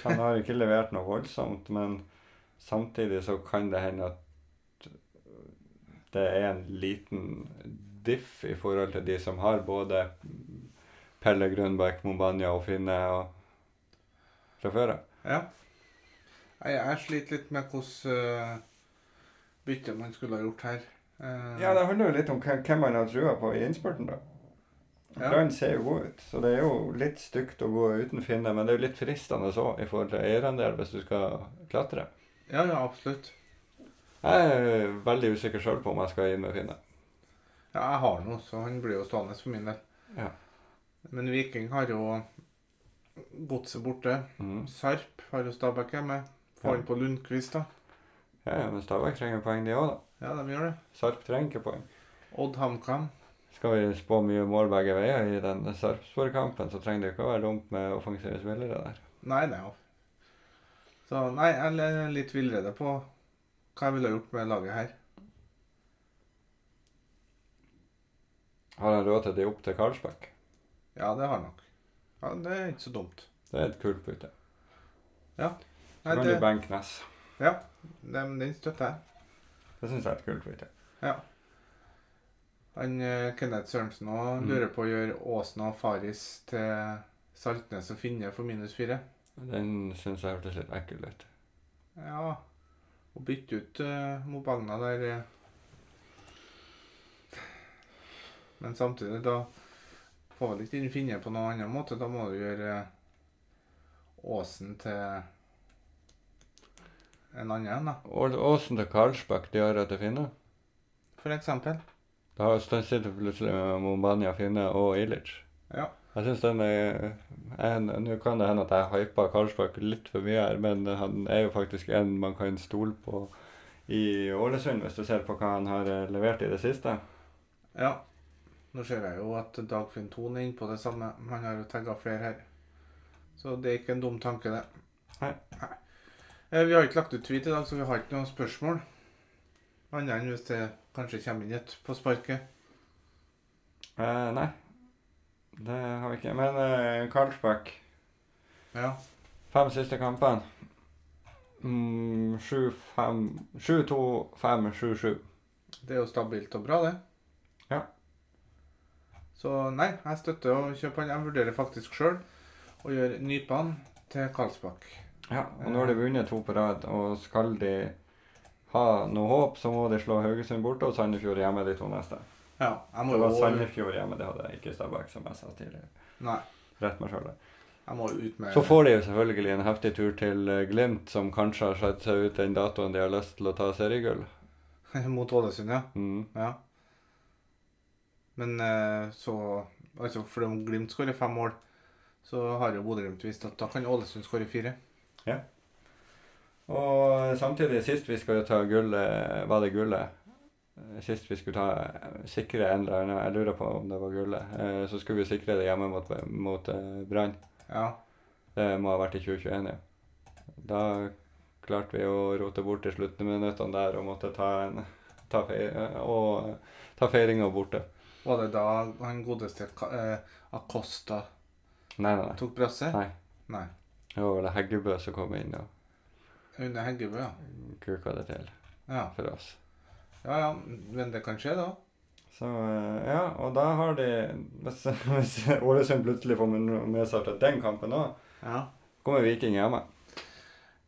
Speaker 1: Han har ikke levert noe voldsomt, men samtidig så kan det hende at det er en liten diff i forhold til de som har både Pelle Grønbæk, Mombania og Finne og fra før av.
Speaker 2: Ja. Jeg, jeg sliter litt med hvordan uh, bytte man skulle ha gjort her. Eh,
Speaker 1: Ja, det handler jo litt om hvem hvem man har trua på i innspurten, da.
Speaker 2: Ja.
Speaker 1: Brann ser jo god ut, så det er jo litt stygt å gå uten Finne, men det er jo litt fristende òg i forhold til eierandel hvis du skal klatre.
Speaker 2: ja, ja, absolutt.
Speaker 1: Jeg er veldig usikker sjøl på om jeg skal inn med Finne.
Speaker 2: Ja, jeg har noe, så han blir jo stående for min del.
Speaker 1: Ja.
Speaker 2: Men Viking har jo Godset borte.
Speaker 1: Mhm.
Speaker 2: Sarp har jo Stabæk hjemme. Får han på Lundqvist, da.
Speaker 1: Ja, ja, men Stabæk trenger poeng, de òg, da.
Speaker 2: Ja, de gjør det.
Speaker 1: Sarp trenger ikke poeng.
Speaker 2: Odd HamKam.
Speaker 1: Skal vi spå mye mål begge veier i den Sarpsborg-kampen, så trenger det ikke å være dumt med offensive spillere der.
Speaker 2: Nei, nei. ja. Så nei, jeg er litt villrede på hva jeg ville ha gjort med laget her.
Speaker 1: Har han råd til de opp til Karlsbakk?
Speaker 2: Ja, det har han nok. Ja, Det er ikke så dumt.
Speaker 1: Det er et kult bytte. Så
Speaker 2: Nei,
Speaker 1: kan
Speaker 2: det,
Speaker 1: du benke Ness.
Speaker 2: ja, den, den støtter jeg.
Speaker 1: Det syns jeg er et kult bytte.
Speaker 2: Han, eh, Kenneth Sørensen også
Speaker 1: Mm.
Speaker 2: lurer på å gjøre Åsen og Faris til Saltnes og Finne for minus fire.
Speaker 1: Den syns jeg hørtes litt ekkel ut.
Speaker 2: Ja. Og bytte ut uh, Mobagna der. eh. Men samtidig, da får vel ikke inn Finne på noen annen måte. Da må du gjøre eh, Åsen til en annen, da.
Speaker 1: Og Åsen til Karlsbakk, de har råd til Finne?
Speaker 2: For eksempel.
Speaker 1: Da har da sitter plutselig med Mombania, Finne og Ilic.
Speaker 2: Ja.
Speaker 1: Jeg synes den er en- Nå kan det hende at jeg hypa Karlsbakk litt for mye her, men han er jo faktisk en man kan stole på i Ålesund, hvis du ser på hva han har eh, levert i det siste.
Speaker 2: Ja. Nå ser jeg jo at Dagfinn Thon er inne på det samme. Han har jo tagga flere her. Så det er ikke en dum tanke, det.
Speaker 1: Nei.
Speaker 2: Eh, Vi har ikke lagt ut tweet i dag, så vi har ikke noen spørsmål. Annet enn hvis det kanskje kommer inn et på sparket.
Speaker 1: Eh, nei, det har vi ikke. Men eh, Karlsbakk,
Speaker 2: Ja.
Speaker 1: fem siste kampene. Mm, 7-5 7-2-5-7-7.
Speaker 2: Det er jo stabilt og bra, det.
Speaker 1: Ja.
Speaker 2: Så nei, jeg støtter å kjøpe han. Jeg vurderer faktisk sjøl å gjøre Nypan til Karlsbakk.
Speaker 1: Ja, og nå har
Speaker 2: Eh.
Speaker 1: de vunnet to på rad, og skal de ha noe håp, så må de slå Haugesund borte og Sandefjord hjemme de to neste.
Speaker 2: Ja, jeg må
Speaker 1: Det
Speaker 2: jo
Speaker 1: var Sandefjord hjemme, det hadde jeg ikke Stabæk, som jeg sa tidligere.
Speaker 2: Nei,
Speaker 1: Rett meg selv. det.
Speaker 2: jeg må jo ut med
Speaker 1: Så får de jo selvfølgelig en heftig tur til eh, Glimt, som kanskje har sett seg ut den datoen de har lyst til å ta seriegull.
Speaker 2: (laughs) mot Ålesund, ja.
Speaker 1: Mm.
Speaker 2: Ja. Men eh, så Altså, for om Glimt skårer fem mål, så har jo Bodø-Glimt vist at da kan Ålesund skåre fire.
Speaker 1: Og samtidig, sist vi skulle ta gullet, var det gullet? Eh, Sist vi skulle ta, sikre en eller annen, jeg lurer på om det var gullet, eh, så skulle vi sikre det hjemme mot, mot eh, Brann.
Speaker 2: Ja.
Speaker 1: Det må ha vært i 2021, ja. Da klarte vi å rote bort i sluttminuttene der og måtte ta en ta fei, og ta feiringa borte.
Speaker 2: Var det da han godeste Ka- eh, Acosta
Speaker 1: Nei, nei, nei.
Speaker 2: tok brasset?
Speaker 1: Nei.
Speaker 2: Nei.
Speaker 1: Det var vel Heggebø som kom inn og
Speaker 2: Aune Heggebø, ja.
Speaker 1: kuka det til
Speaker 2: ja.
Speaker 1: for oss.
Speaker 2: Ja ja, men det kan skje, da.
Speaker 1: Så eh, ja, og da har de Hvis, (laughs) hvis Ålesund plutselig får med seg fra den kampen òg,
Speaker 2: Ja.
Speaker 1: kommer Viking hjemme.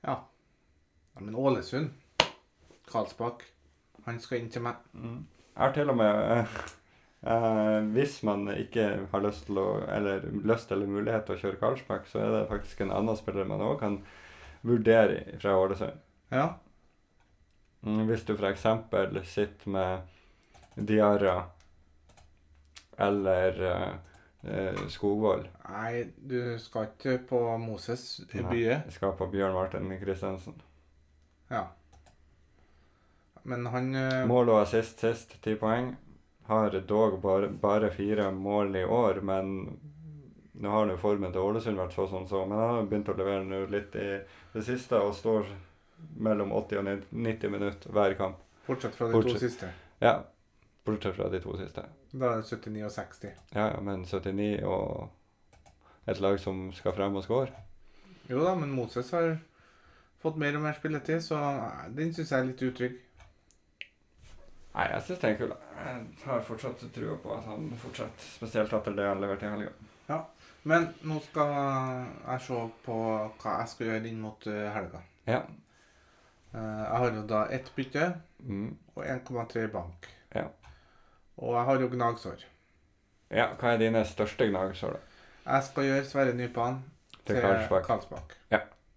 Speaker 2: ja men Ålesund Karlsbakk. Han skal inn til meg.
Speaker 1: Mm. Jeg har til og med eh, eh, Hvis man ikke har lyst til å Eller lyst eller mulighet til å kjøre Karlsbakk, så er det faktisk en annen spiller man òg kan vurdere i- fra Ålesund.
Speaker 2: Ja.
Speaker 1: Mm, hvis du f.eks. sitter med Diarra eller eh, eh, Skogvold.
Speaker 2: Nei, du skal ikke på Moses i
Speaker 1: Nei.
Speaker 2: bye.
Speaker 1: Jeg skal på Bjørn Martin Kristensen.
Speaker 2: Ja. Men han eh,
Speaker 1: Mål og assist sist, ti poeng. Har dog bare, bare fire mål i år, men nå har nå formen til Ålesund vært så som så. Men han har begynt å levere nå litt i det siste og står mellom 80 og 90 minutter hver kamp.
Speaker 2: Bortsett fra de
Speaker 1: Bortsett.
Speaker 2: to siste.
Speaker 1: Ja, bortsett fra de to siste.
Speaker 2: Da er det 79 og 60.
Speaker 1: Ja, ja, men 79 og et lag som skal frem og score.
Speaker 2: Jo da, men Moses har fått mer og mer spilletid, så eh, den syns jeg er litt utrygg.
Speaker 1: Nei, jeg syns det er kult. Jeg har fortsatt trua på at han fortsetter, spesielt etter det han leverte i helga.
Speaker 2: Men nå skal jeg se på hva jeg skal gjøre inn mot eh, helga.
Speaker 1: Ja.
Speaker 2: Eh, Jeg har jo da ett bytte
Speaker 1: Mm.
Speaker 2: og 1,3 i bank.
Speaker 1: Ja.
Speaker 2: Og jeg har jo gnagsår.
Speaker 1: ja. Hva er dine største gnagsår, da?
Speaker 2: Jeg skal gjøre Sverre Nypan
Speaker 1: Til Karlsbakk.
Speaker 2: Karlsbakk.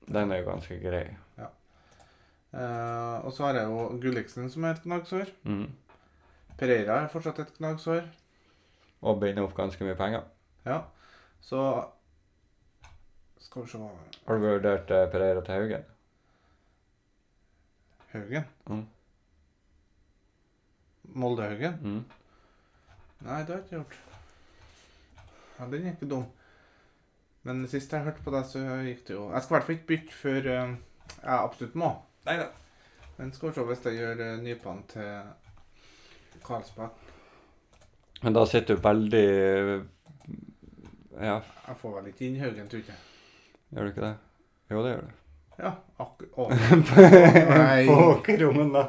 Speaker 1: Den er jo ganske grei.
Speaker 2: Eh, og så har jeg jo Gulliksen som er et gnagsår.
Speaker 1: Mm.
Speaker 2: Pereira er fortsatt et gnagsår.
Speaker 1: Og binder opp ganske mye penger.
Speaker 2: Ja. Så Skal vi se
Speaker 1: Har du vurdert eh, Pereira til Haugen?
Speaker 2: Haugen.
Speaker 1: Mm.
Speaker 2: Moldehaugen.
Speaker 1: Mm.
Speaker 2: Nei, det har jeg ikke gjort. Ja, den er ikke dum. Men sist jeg hørte på deg, så gikk det jo Jeg skal i hvert fall ikke bytte før eh, jeg absolutt må.
Speaker 1: Nei da.
Speaker 2: Men skal vi se hvis jeg gjør eh, Nypan til Karlsbakk.
Speaker 1: Men da sitter du veldig Ja,
Speaker 2: Jeg får vel ikke inn Haugen, tror jeg. ikke.
Speaker 1: gjør du ikke det? Jo, det gjør du.
Speaker 2: Ja, akkurat. Nei.
Speaker 1: krona.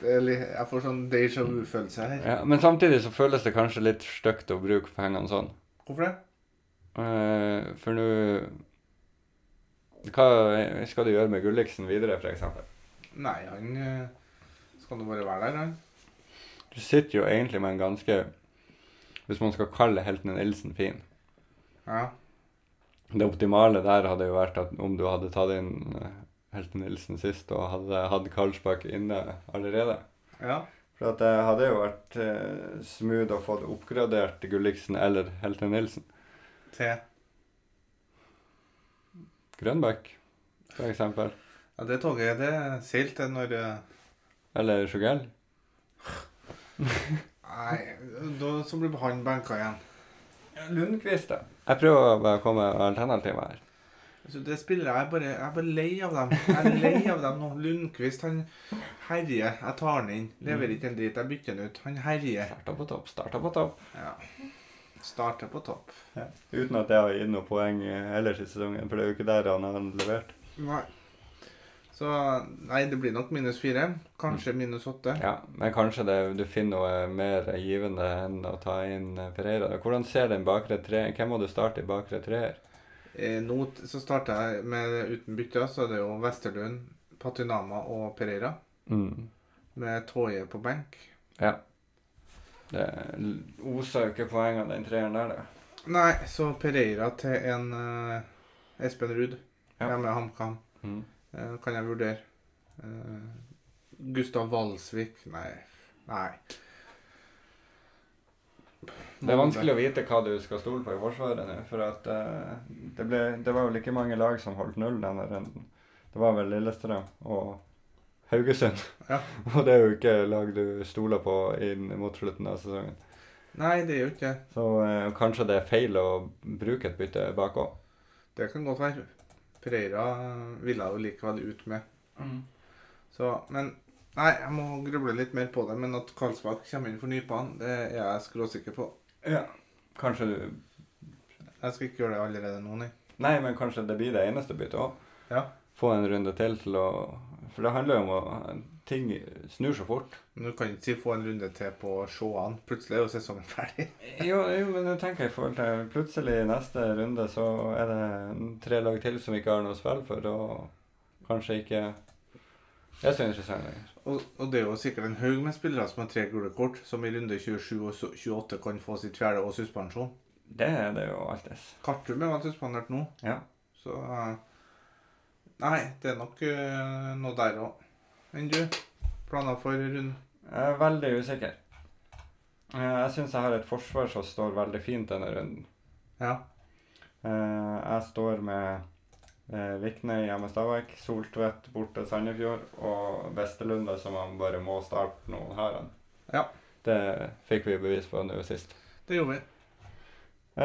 Speaker 2: Det er litt- Jeg får sånn déjà vu-følelse her.
Speaker 1: Ja, men samtidig så føles det kanskje litt stygt å bruke pengene sånn.
Speaker 2: Hvorfor det?
Speaker 1: Eh, for nå Hva skal du gjøre med Gulliksen videre, f.eks.?
Speaker 2: Nei, han eh, skal nå bare være der, han.
Speaker 1: Du sitter jo egentlig med en ganske Hvis man skal kalle helten Nilsen fin
Speaker 2: Ja.
Speaker 1: Det optimale der hadde jo vært at om du hadde tatt inn eh, helten Nilsen sist og hadde hatt Karlsbakk inne allerede.
Speaker 2: ja.
Speaker 1: For at det hadde jo vært eh, smooth å få oppgradert Gulliksen eller helten Nilsen.
Speaker 2: Til
Speaker 1: Grønbæk, f.eks.
Speaker 2: Ja, det toget, det seilte når eh,
Speaker 1: Eller Sjugell.
Speaker 2: Nei, da så blir han benka igjen.
Speaker 1: Lundqvist, da. Jeg prøver bare å komme med alternativer her.
Speaker 2: Så Altså, det spiller jeg bare Jeg er bare lei av dem. Jeg er lei av dem nå. Lundqvist, han herjer. Jeg tar han inn. Leverer ikke en drit. Jeg bytter han ut. Han herjer.
Speaker 1: Starta på topp, starta på topp.
Speaker 2: Ja. Starter på topp.
Speaker 1: Uten at det har gitt noe poeng eh, ellers i sesongen, for det er jo ikke der han har levert.
Speaker 2: Nei. Så Nei, det blir nok minus fire. Kanskje minus åtte.
Speaker 1: Ja, Men kanskje det, du finner noe mer givende enn å ta inn eh, Pereira. Hvordan ser den bakre tre Hvem må du starte i bakre treer?
Speaker 2: Eh, Nå t- så starter jeg med uten bytter, så er det jo Vesterlund, Patinama og Pereira.
Speaker 1: Mm.
Speaker 2: Med Toje på benk.
Speaker 1: Det oser jo ikke poeng av den treeren der, da.
Speaker 2: Nei, så Pereira til en eh, Espen Ruud.
Speaker 1: Ja.
Speaker 2: Ja. med HamKam.
Speaker 1: Mm.
Speaker 2: Eh, kan jeg vurdere. Eh, Gustav Valsvik Nei. Nei.
Speaker 1: Det er vanskelig å vite hva du skal stole på i Forsvaret nå. For at eh, det, ble, det var jo like mange lag som holdt null denne runden. Det var vel Lillestrøm og Haugesund.
Speaker 2: Ja.
Speaker 1: (laughs) og det er jo ikke lag du stoler på inn mot slutten av sesongen.
Speaker 2: Nei, det er jo ikke det.
Speaker 1: Så eh, kanskje det er feil å bruke et bytte bak òg.
Speaker 2: Det kan godt være. Pereira eh, ville jeg jo likevel ut med. Så, men Nei, jeg må gruble litt mer på det. Men at Karlsbakk kommer inn for nypene, det er jeg skråsikker på.
Speaker 1: Ja. Kanskje du
Speaker 2: Jeg skal ikke gjøre det allerede nå, nei.
Speaker 1: Nei, men kanskje det blir det eneste byttet òg.
Speaker 2: Ja.
Speaker 1: Få en runde til til å For det handler jo om å Ting snur så fort.
Speaker 2: Men du kan ikke si 'få en runde til på Sjåan'. Plutselig er jo sesongen ferdig. (laughs)
Speaker 1: Jo, jo, men jeg tenker i forhold til Plutselig i neste runde så er det en tre lag til som ikke har noe spill for, og kanskje ikke er så interessant lenger.
Speaker 2: Og, og det er jo sikkert en haug med spillere som har tre gule kort, som i runde 27 og så- 28 kan få sitt fjerde og suspensjon.
Speaker 1: Det er det jo alltids.
Speaker 2: Kartum er vel suspendert nå,
Speaker 1: Ja.
Speaker 2: så eh, Nei, det er nok eh, noe der òg. Enn du? Planer for runden?
Speaker 1: Jeg er veldig usikker. Eh, Jeg syns jeg har et forsvar som står veldig fint denne runden.
Speaker 2: Ja.
Speaker 1: Eh, Jeg står med eh, Vikne hjemme i Stabæk, Soltvedt borte Sandefjord og Vestelunde, som man bare må starte noen her.
Speaker 2: Ja.
Speaker 1: Det fikk vi bevis på nå sist.
Speaker 2: Det gjorde vi.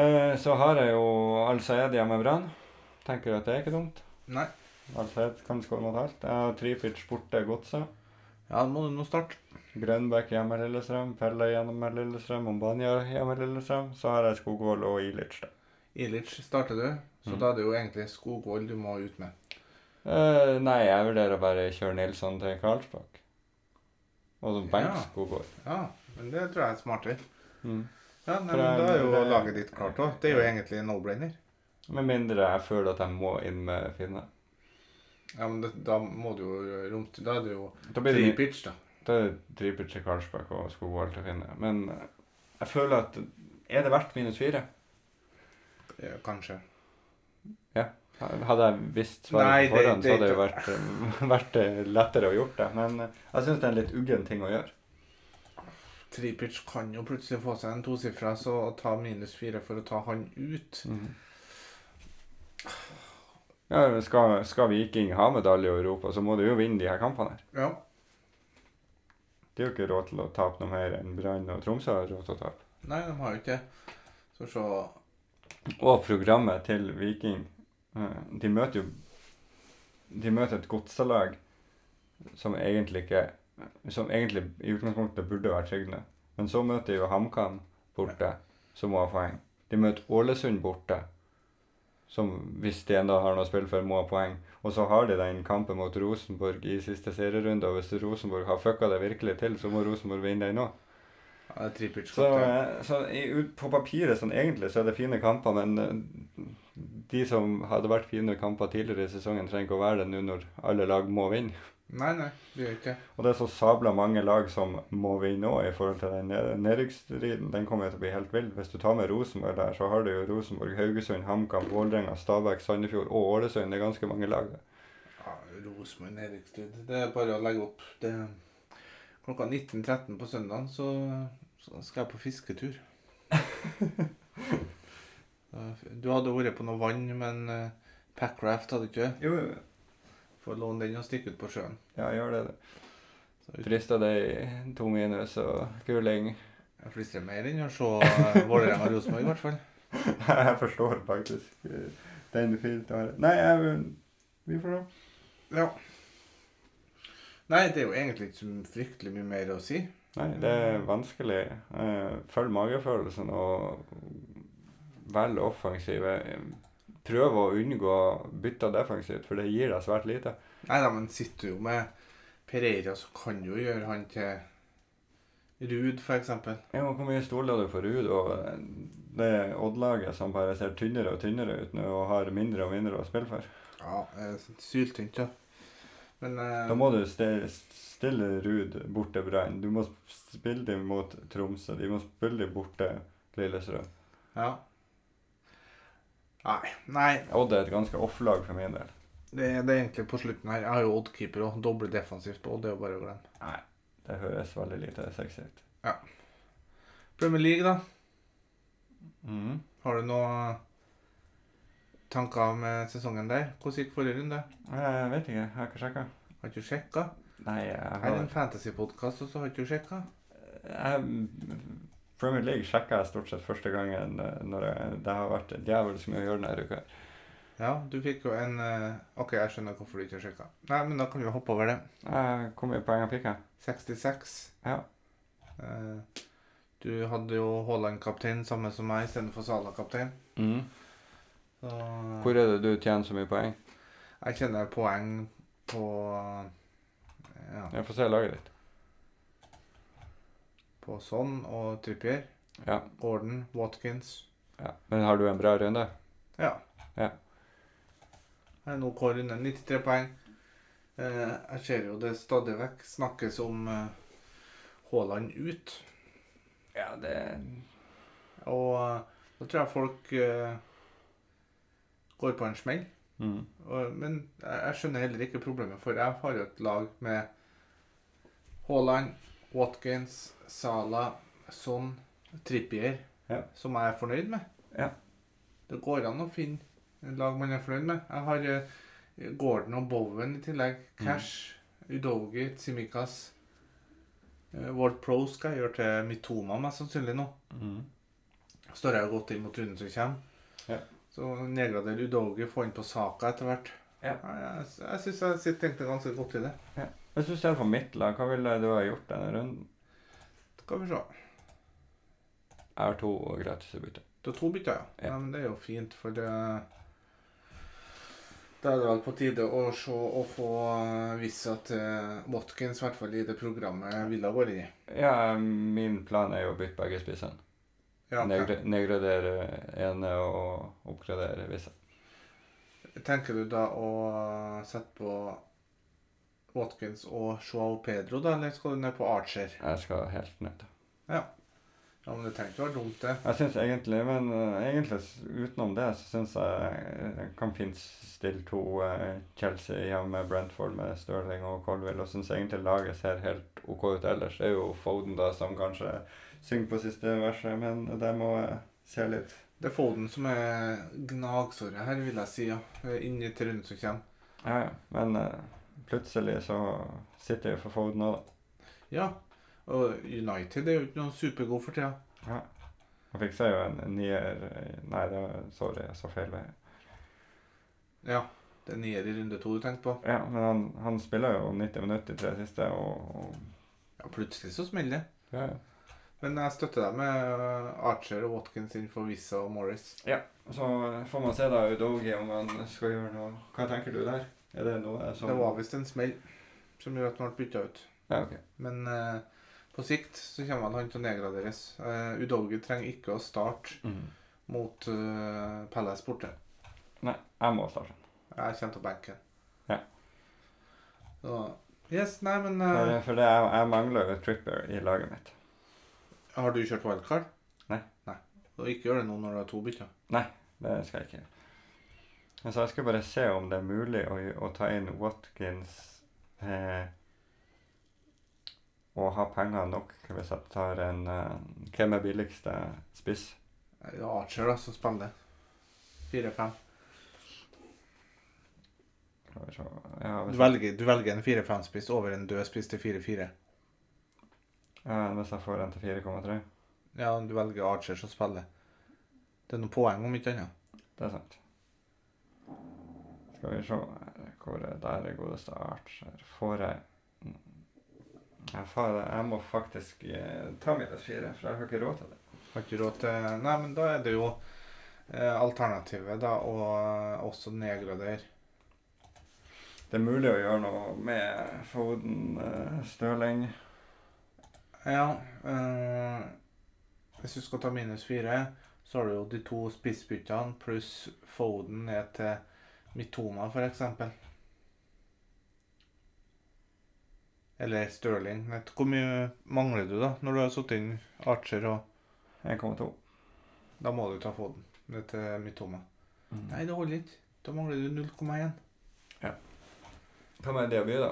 Speaker 1: Eh, Så har jeg jo Al-Saed hjemme i Brann. Tenker at det er ikke dumt.
Speaker 2: Nei.
Speaker 1: Al-Saed kan skåre mot alt. Jeg har Tripic borte Godset.
Speaker 2: Ja, nå må du nå starte.
Speaker 1: Grønbæk hjemme i Lillestrøm, Pelle hjemme i Lillestrøm, Ombanya hjemme i Lillestrøm. Så har jeg Skogvold og Ilic. da.
Speaker 2: Ilic starter du, så
Speaker 1: Mm.
Speaker 2: da er det jo egentlig Skogvold du må ut med.
Speaker 1: Eh, nei, jeg vurderer å bare kjøre Nilsson til Karlsbakk. Og så benk
Speaker 2: Ja.
Speaker 1: Skogvold.
Speaker 2: Ja, men det tror jeg er smartere.
Speaker 1: Mm.
Speaker 2: Ja, nei,
Speaker 1: For
Speaker 2: men
Speaker 1: det-
Speaker 2: da er jo
Speaker 1: det-
Speaker 2: laget ditt klart òg. Det er jo egentlig en no-brainer.
Speaker 1: Med mindre jeg føler at jeg må inn med Finne.
Speaker 2: Ja, men det, da må du jo romte Da er det jo
Speaker 1: Da blir det,
Speaker 2: Tripic, da.
Speaker 1: da er det Tripic til Karlsbakk og Skogvold til Finne. Men eh, jeg føler at Er det verdt minus fire?
Speaker 2: Ja, kanskje.
Speaker 1: Hadde jeg visst svaret
Speaker 2: Nei,
Speaker 1: på forhånd, så
Speaker 2: det- det-
Speaker 1: hadde det jo vært, eh, vært (laughs) eh, lettere å gjort det. Men eh, jeg syns det er en litt uggen ting å gjøre.
Speaker 2: Tripic kan jo plutselig få seg en tosifra, så å ta minus fire for å ta han ut
Speaker 1: Mhm. Ja, men skal, skal Viking ha medalje i Europa, så må du jo vinne de her kampene. her.
Speaker 2: Ja.
Speaker 1: De har jo ikke råd til å tape noe mer enn Brann og Tromsø har råd til å tape.
Speaker 2: Nei, de har jo ikke det. Så så
Speaker 1: Og programmet til Viking eh, De møter jo De møter et godselag som egentlig ikke Som egentlig i utgangspunktet burde vært Rygne. Men så møter de jo HamKam borte, som må ha poeng. De møter Ålesund borte, som hvis de ennå har noe å spille for, må ha poeng. Og så har de den kampen mot Rosenborg i siste serierunde, og hvis Rosenborg har fucka det virkelig til, så må Rosenborg vinne den òg.
Speaker 2: ja, det er Tripic.
Speaker 1: Så,
Speaker 2: godt, ja.
Speaker 1: eh, så i, ut- på papiret sånn, egentlig så er det fine kamper, men eh, de som hadde vært fine kamper tidligere i sesongen, trenger ikke å være det nå når alle lag må vinne.
Speaker 2: Nei, nei, det gjør ikke det.
Speaker 1: Og det er så sabla mange lag som må vinne òg i forhold til den ned- nedrykksstriden. Den kommer jo til å bli helt vill. Hvis du tar med Rosenborg der, så har du jo Rosenborg, Haugesund, HamKam, Vålerenga, Stabæk, Sandefjord og Ålesund. Det er ganske mange lag. der.
Speaker 2: Ja, Rosenborg Erikstrid. Det er bare å legge opp. Det klokka 19.13 på søndagen så, så skal jeg på fisketur. (laughs) Da- du hadde vært på noe vann, men eh, Packraft hadde ikke det. Får låne den og stikke ut på sjøen.
Speaker 1: Ja, gjør det. det.
Speaker 2: Så ut-
Speaker 1: Frister det i to minus og kuling.
Speaker 2: Jeg flistrer mer enn å se eh, Vålerenga og Rosenborg, i hvert fall.
Speaker 1: Nei, (laughs) jeg forstår faktisk eh, den filteren. Nei, jeg, vi får se.
Speaker 2: Ja. Nei, det er jo egentlig ikke så fryktelig mye mer å si.
Speaker 1: Nei, det er vanskelig. Eh, Følg magefølelsen og velg offensive. Eh, Prøv å unngå bytter defensivt, for det gir deg svært lite.
Speaker 2: Nei da, men sitter du jo med Pereira, så kan du jo gjøre han til Ruud, for eksempel.
Speaker 1: Ja, men Hvor mye stoler du på Ruud og eh, det Odd-laget som bare ser tynnere og tynnere ut nå og har mindre og mindre å spille for?
Speaker 2: Ja, eh, syltynt, ja. Men eh,
Speaker 1: Da må du ste- stille Ruud bort til Brann. Du må spille dem mot Tromsø. De må spille dem borte Lillestrøm.
Speaker 2: Ja. Nei, nei
Speaker 1: Odd er et ganske off-lag for min del.
Speaker 2: det, er- det er egentlig på slutten her. Jeg har jo Odd-keeper òg. Doble defensivt på Odd, det er jo bare å glemme.
Speaker 1: Det høres veldig lite sexy ut.
Speaker 2: Premier League, da.
Speaker 1: Mm.
Speaker 2: Har du noen tanker om eh, sesongen der? Hvordan gikk forrige runde?
Speaker 1: Jeg vet ikke, jeg har ikke sjekka.
Speaker 2: Har ikke du sjekka?
Speaker 1: Nei, jeg
Speaker 2: Her er
Speaker 1: har
Speaker 2: en fantasypodkast, og så har ikke du sjekka?
Speaker 1: jeg, Premier League sjekka jeg stort sett første gangen eh, når jeg, det har vært djevelsk mye å gjøre denne uka.
Speaker 2: Ja, du fikk jo en eh, OK, jeg skjønner hvorfor du ikke har sjekka. Nei, men da kan vi jo hoppe over det.
Speaker 1: Eh, Hvor mye poeng jeg fikk jeg?
Speaker 2: 66.
Speaker 1: Ja.
Speaker 2: Eh, du hadde jo Haaland-kaptein, samme som meg, istedenfor Sala-kaptein.
Speaker 1: Mm.
Speaker 2: Så
Speaker 1: Hvor er det du tjener så mye poeng?
Speaker 2: jeg kjenner poeng på eh, ja,
Speaker 1: Jeg får se laget ditt.
Speaker 2: på sånn og Trippier.
Speaker 1: Ja.
Speaker 2: Gordon, Watkins.
Speaker 1: Ja. Men har du en bra runde?
Speaker 2: Ja.
Speaker 1: Ja.
Speaker 2: Jeg er nå kår runde 93 poeng. Eh, jeg ser jo det stadig vekk snakkes om eh, Haaland ut.
Speaker 1: Ja, det
Speaker 2: Og eh, da tror jeg folk eh, går på en smell.
Speaker 1: mm.
Speaker 2: Og, men jeg, jeg skjønner heller ikke problemet, for jeg har jo et lag med Haaland, Watkins, Sala, Son, Trippier,
Speaker 1: Ja.
Speaker 2: som jeg er fornøyd med.
Speaker 1: Ja.
Speaker 2: Det går an å finne en lag man er fornøyd med. Jeg har eh, Gordon og Bowen i tillegg.
Speaker 1: Mm.
Speaker 2: Cash, Udogi, Tsimikas. Eh, World Pro skal jeg gjøre til Mitoma mest sannsynlig nå.
Speaker 1: Mm.
Speaker 2: Står jeg jo godt inn mot runden som kommer.
Speaker 1: Ja.
Speaker 2: Så nedgrader Udogi, få inn på Saka etter hvert.
Speaker 1: Ja.
Speaker 2: Jeg, jeg syns jeg sitter- tenkte ganske godt i det.
Speaker 1: Hvis du ser på mitt lag, hva ville du ha gjort denne runden?
Speaker 2: Skal vi se.
Speaker 1: Jeg har to gratis i bytte.
Speaker 2: Du har to bytter, ja.
Speaker 1: Ja.
Speaker 2: Nei, men det er jo fint, for det Da er det vel på tide å se og få eh, visse at eh, Watkins, i hvert fall i det programmet, ville ha vært i.
Speaker 1: Ja, min plan er jo å bytte begge spissene.
Speaker 2: Ja, ok.
Speaker 1: Negre- Nedgradere ene og oppgradere visse.
Speaker 2: Tenker du da å sette på Watkins og Joao Pedro, da, eller skal du ned på Archer?
Speaker 1: Jeg skal helt ned.
Speaker 2: Ja, men det trenger ikke å være dumt, det.
Speaker 1: Jeg syns egentlig, men eh, egentlig s- utenom det, så syns jeg eh, kan fint stille to eh, Chelsea hjemme med Brentford med Stirling og Colville, og syns egentlig laget ser helt OK ut ellers. Det er jo Foden da som kanskje synger på siste verset, men det må jeg se litt.
Speaker 2: Det er Foden som er gnagsåret her, vil jeg si, ja. Inni til runden som kommer.
Speaker 1: Ja, ja. Men eh, plutselig så sitter jo for Foden òg, da.
Speaker 2: Ja. Og United er jo ikke noen supergod for tida.
Speaker 1: Han fikk seg jo en nier eh, Nei, det var, sorry, jeg så feil vei.
Speaker 2: Ja. Det er nier i runde to du tenkte på.
Speaker 1: Ja, men han, han spiller jo 90 minutter i tre siste, og, og
Speaker 2: Ja, plutselig så smeller det.
Speaker 1: ja, ja.
Speaker 2: Men jeg støtter deg med øh, Archer og Watkins inn for Visa og Morris.
Speaker 1: Så får man se da Udogi om han skal gjøre noe. Hva tenker du der? Er det noe som
Speaker 2: Det var visst en smell som gjorde at han ble bytta ut.
Speaker 1: Ja, ok.
Speaker 2: Men øh, på sikt så kommer han til å nedgraderes. Uh, Udogi trenger ikke å starte
Speaker 1: Mm.
Speaker 2: mot uh, Palace borte.
Speaker 1: Nei, jeg må starte.
Speaker 2: Jeg kommer til å benke han.
Speaker 1: Ja.
Speaker 2: Så Yes, nei, men
Speaker 1: For,
Speaker 2: øh,
Speaker 1: for det, jeg, jeg mangler jo Tripper i laget mitt.
Speaker 2: Har du kjørt wildcard?
Speaker 1: Nei.
Speaker 2: nei. Og ikke gjør det nå når du har to bytter.
Speaker 1: Det skal jeg ikke gjøre. Men Så jeg skal bare se om det er mulig å, gj- å ta inn Watkins eh, og ha penger nok hvis jeg tar en eh, Hvem er billigste spiss?
Speaker 2: Det er Archer, da, som spiller. altså, Fire-fem.
Speaker 1: Skal vi se. Ja,
Speaker 2: Du
Speaker 1: hvis, jeg,
Speaker 2: velger, du velger en 4-5-spiss over en død spiss til 4-4.
Speaker 1: ja, hvis jeg får en til 4,3.
Speaker 2: Ja, du velger Archer som spiller. Det er noen poeng om ikke annet.
Speaker 1: Det er sant. Skal vi se her, hvor er der er godeste Archer. Får jeg jeg, får, jeg må faktisk eh, ta minus fire, for jeg har ikke råd til det.
Speaker 2: Har ikke råd til Nei, men da er det jo eh, alternativet, da, å eh, også nedgradere.
Speaker 1: Det er mulig å gjøre noe med Foden, eh, Stirling
Speaker 2: Ja eh, Hvis du skal ta minus fire, så har du jo de to spissbyttene pluss Foden ned til Mitoma, for eksempel. Eller Stirling. Vet du, Hvor mye mangler du, da, når du har satt inn Archer og
Speaker 1: 1,2.
Speaker 2: Da må du ta Foden ned til Mitoma. Nei, det holder ikke. Da mangler du 0,1.
Speaker 1: Hva med Diaby, da?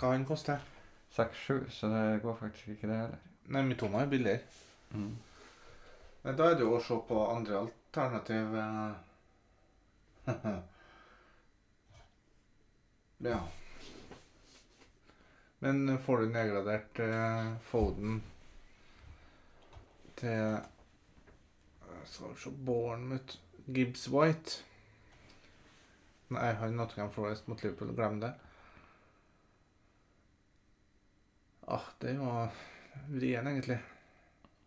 Speaker 2: Hva han koster?
Speaker 1: 6-7, så det går faktisk ikke, det heller.
Speaker 2: Nei, Mitoma er billigere. Nei, da er det jo å se på andre alternativ eh. (laughs) Ja. Men får du nedgradert eh, Foden til eh, Skal vi se Bournemouth Gibbs White Nei, han Nottingham Forest mot Liverpool. Glem det. Ah, det er jo vrien, egentlig.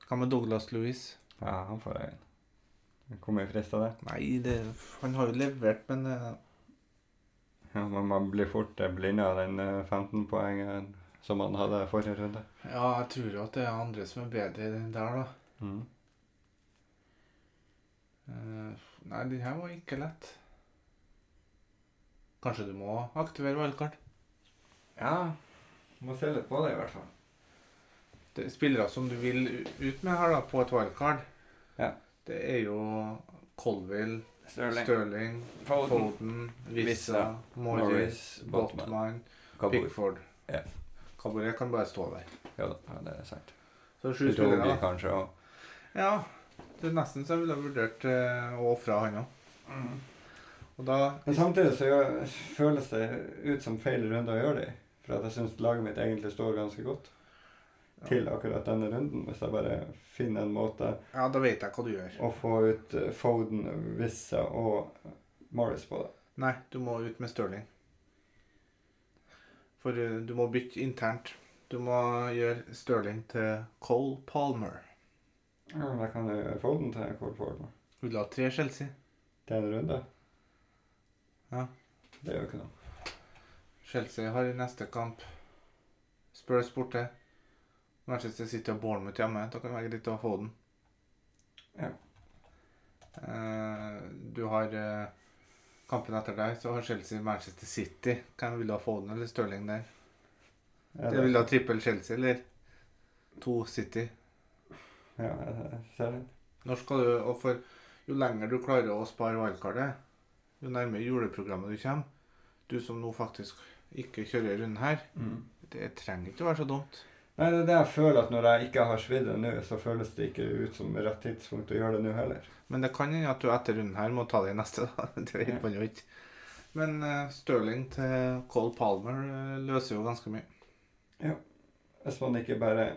Speaker 2: Hva med Douglas Louis?
Speaker 1: Ja, han får jeg inn. Hvor mye frister det?
Speaker 2: Nei, det, han har jo levert, men eh,
Speaker 1: Ja, men man blir fort eh, blindet av den eh, 15-poengen som man hadde forrige runde.
Speaker 2: Ja, jeg tror jo at det er andre som er bedre enn der, da.
Speaker 1: Mm.
Speaker 2: Eh, nei, den her var ikke lett. Kanskje du må aktivere valgkart?
Speaker 1: Ja, må se litt på det i hvert fall.
Speaker 2: Det er spillere som du vil u- ut med her, da, på et valgkart,
Speaker 1: Ja.
Speaker 2: det er jo Colville,
Speaker 1: Stirling,
Speaker 2: Stirling,
Speaker 1: Foden,
Speaker 2: Foden, Vissa,
Speaker 1: Vissa,
Speaker 2: Morris,
Speaker 1: Morris, Botman,
Speaker 2: Botman,
Speaker 1: Kabul.
Speaker 2: Pickford.
Speaker 1: Ja.
Speaker 2: Cabaret kan bare stå der.
Speaker 1: Ja da, ja, det er sant.
Speaker 2: Så Så sju spillere,
Speaker 1: Rogi
Speaker 2: da.
Speaker 1: kanskje og
Speaker 2: Ja. Det er nesten så jeg ville ha vurdert eh, å ofre han òg. Og da
Speaker 1: Men samtidig så gjør, føles det ut som feil runde å gjøre det i. For at jeg syns laget mitt egentlig står ganske godt
Speaker 2: Ja.
Speaker 1: til akkurat denne runden. Hvis jeg bare finner en måte
Speaker 2: Ja, da vet jeg hva du gjør.
Speaker 1: å få ut eh, Foden, Wisse og Morris på det.
Speaker 2: Nei, du må ut med Stirling. For eh, du må bytte internt. Du må gjøre Stirling til Cole Palmer.
Speaker 1: Ja, men jeg kan jo gjøre Foden til en Cole Palmer.
Speaker 2: Vil du ha tre Chelsea?
Speaker 1: Det er en runde.
Speaker 2: Ja.
Speaker 1: Det gjør ikke noe.
Speaker 2: Chelsea har i neste kamp Spurs borte. Manchester City og Bournemouth hjemme. Da kan det være greit å få den.
Speaker 1: Ja.
Speaker 2: Eh, du har eh, kampen etter deg, så har Chelsea Manchester City. Hvem vil du ha Foden eller Stirling der?
Speaker 1: Er
Speaker 2: Jeg vil ha trippel Chelsea eller to City.
Speaker 1: Ja, jeg ser den.
Speaker 2: Når skal du, og for Jo lenger du klarer å spare wildcardet, jo nærmere juleprogrammet du kommer Du som nå faktisk ikke kjører runden her, det trenger ikke å være så dumt.
Speaker 1: Nei, det er det jeg føler at når jeg ikke har svidd det nå, så føles det ikke ut som rett tidspunkt å gjøre det nå heller.
Speaker 2: Men det kan hende at du etter runden her må ta det i neste. da. (laughs) Det vet
Speaker 1: Ja.
Speaker 2: man jo ikke. Men eh, Sterling til Cole Palmer eh, løser jo ganske mye.
Speaker 1: Hvis man ikke bare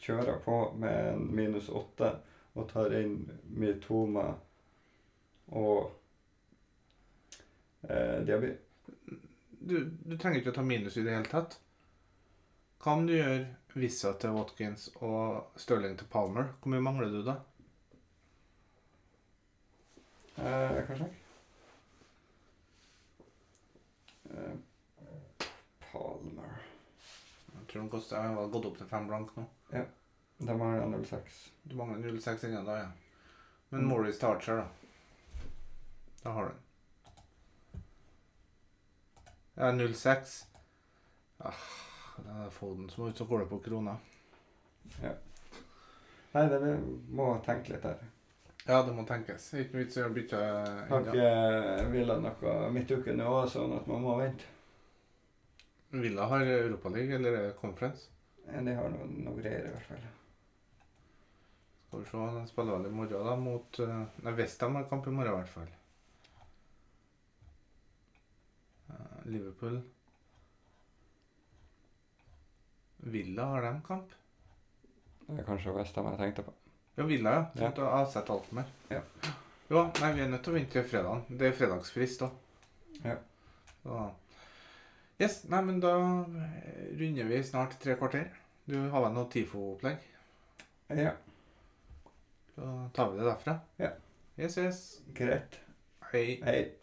Speaker 1: kjører på med en minus åtte og tar inn Mitoma og eh, Diaby.
Speaker 2: Du, du trenger ikke å ta minus i det hele tatt. Hva om du gjør Vissa til Watkins og Sterling til Palmer? Hvor mye mangler du da?
Speaker 1: Eh, kanskje ikke. Eh, Palmer.
Speaker 2: Jeg tror den koster Jeg har gått opp til fem blank nå.
Speaker 1: De har 06.
Speaker 2: Du mangler 0,6 ennå, da, ja. Men
Speaker 1: Mm.
Speaker 2: Morris til Archer, da. Da har du den. Ja, 0,6. Ah, det er Foden som må ut, så går det på krona.
Speaker 1: Nei, det vi må tenke litt her.
Speaker 2: Ja, det må tenkes. Ikke noe vits i å bytte
Speaker 1: Har
Speaker 2: ennå.
Speaker 1: ikke Villa noe midtuke nå, sånn at man må vente?
Speaker 2: Villa har Europaliga eller er det Conference.
Speaker 1: Men De har noen, noe greier i hvert fall.
Speaker 2: Skal vi se, de spiller vel i morgen da mot eh, Nei, Westham har kamp i morgen i hvert fall. Eh, Liverpool Villa har de kamp?
Speaker 1: Det er kanskje Westham jeg tenkte på.
Speaker 2: Ja, Villa, ja.
Speaker 1: Ja.
Speaker 2: Jeg har sett alt mer.
Speaker 1: Ja.
Speaker 2: Jo, nei, vi er nødt til å vente til fredagen. Det er fredagsfrist da.
Speaker 1: Ja.
Speaker 2: Så. Yes, nei, men da runder vi snart tre kvarter. Du har vel noe TIFO-opplegg?
Speaker 1: Ja,
Speaker 2: Da tar vi det derfra.
Speaker 1: Ja.
Speaker 2: Yes, yes.
Speaker 1: greit.
Speaker 2: Hei.
Speaker 1: Hei.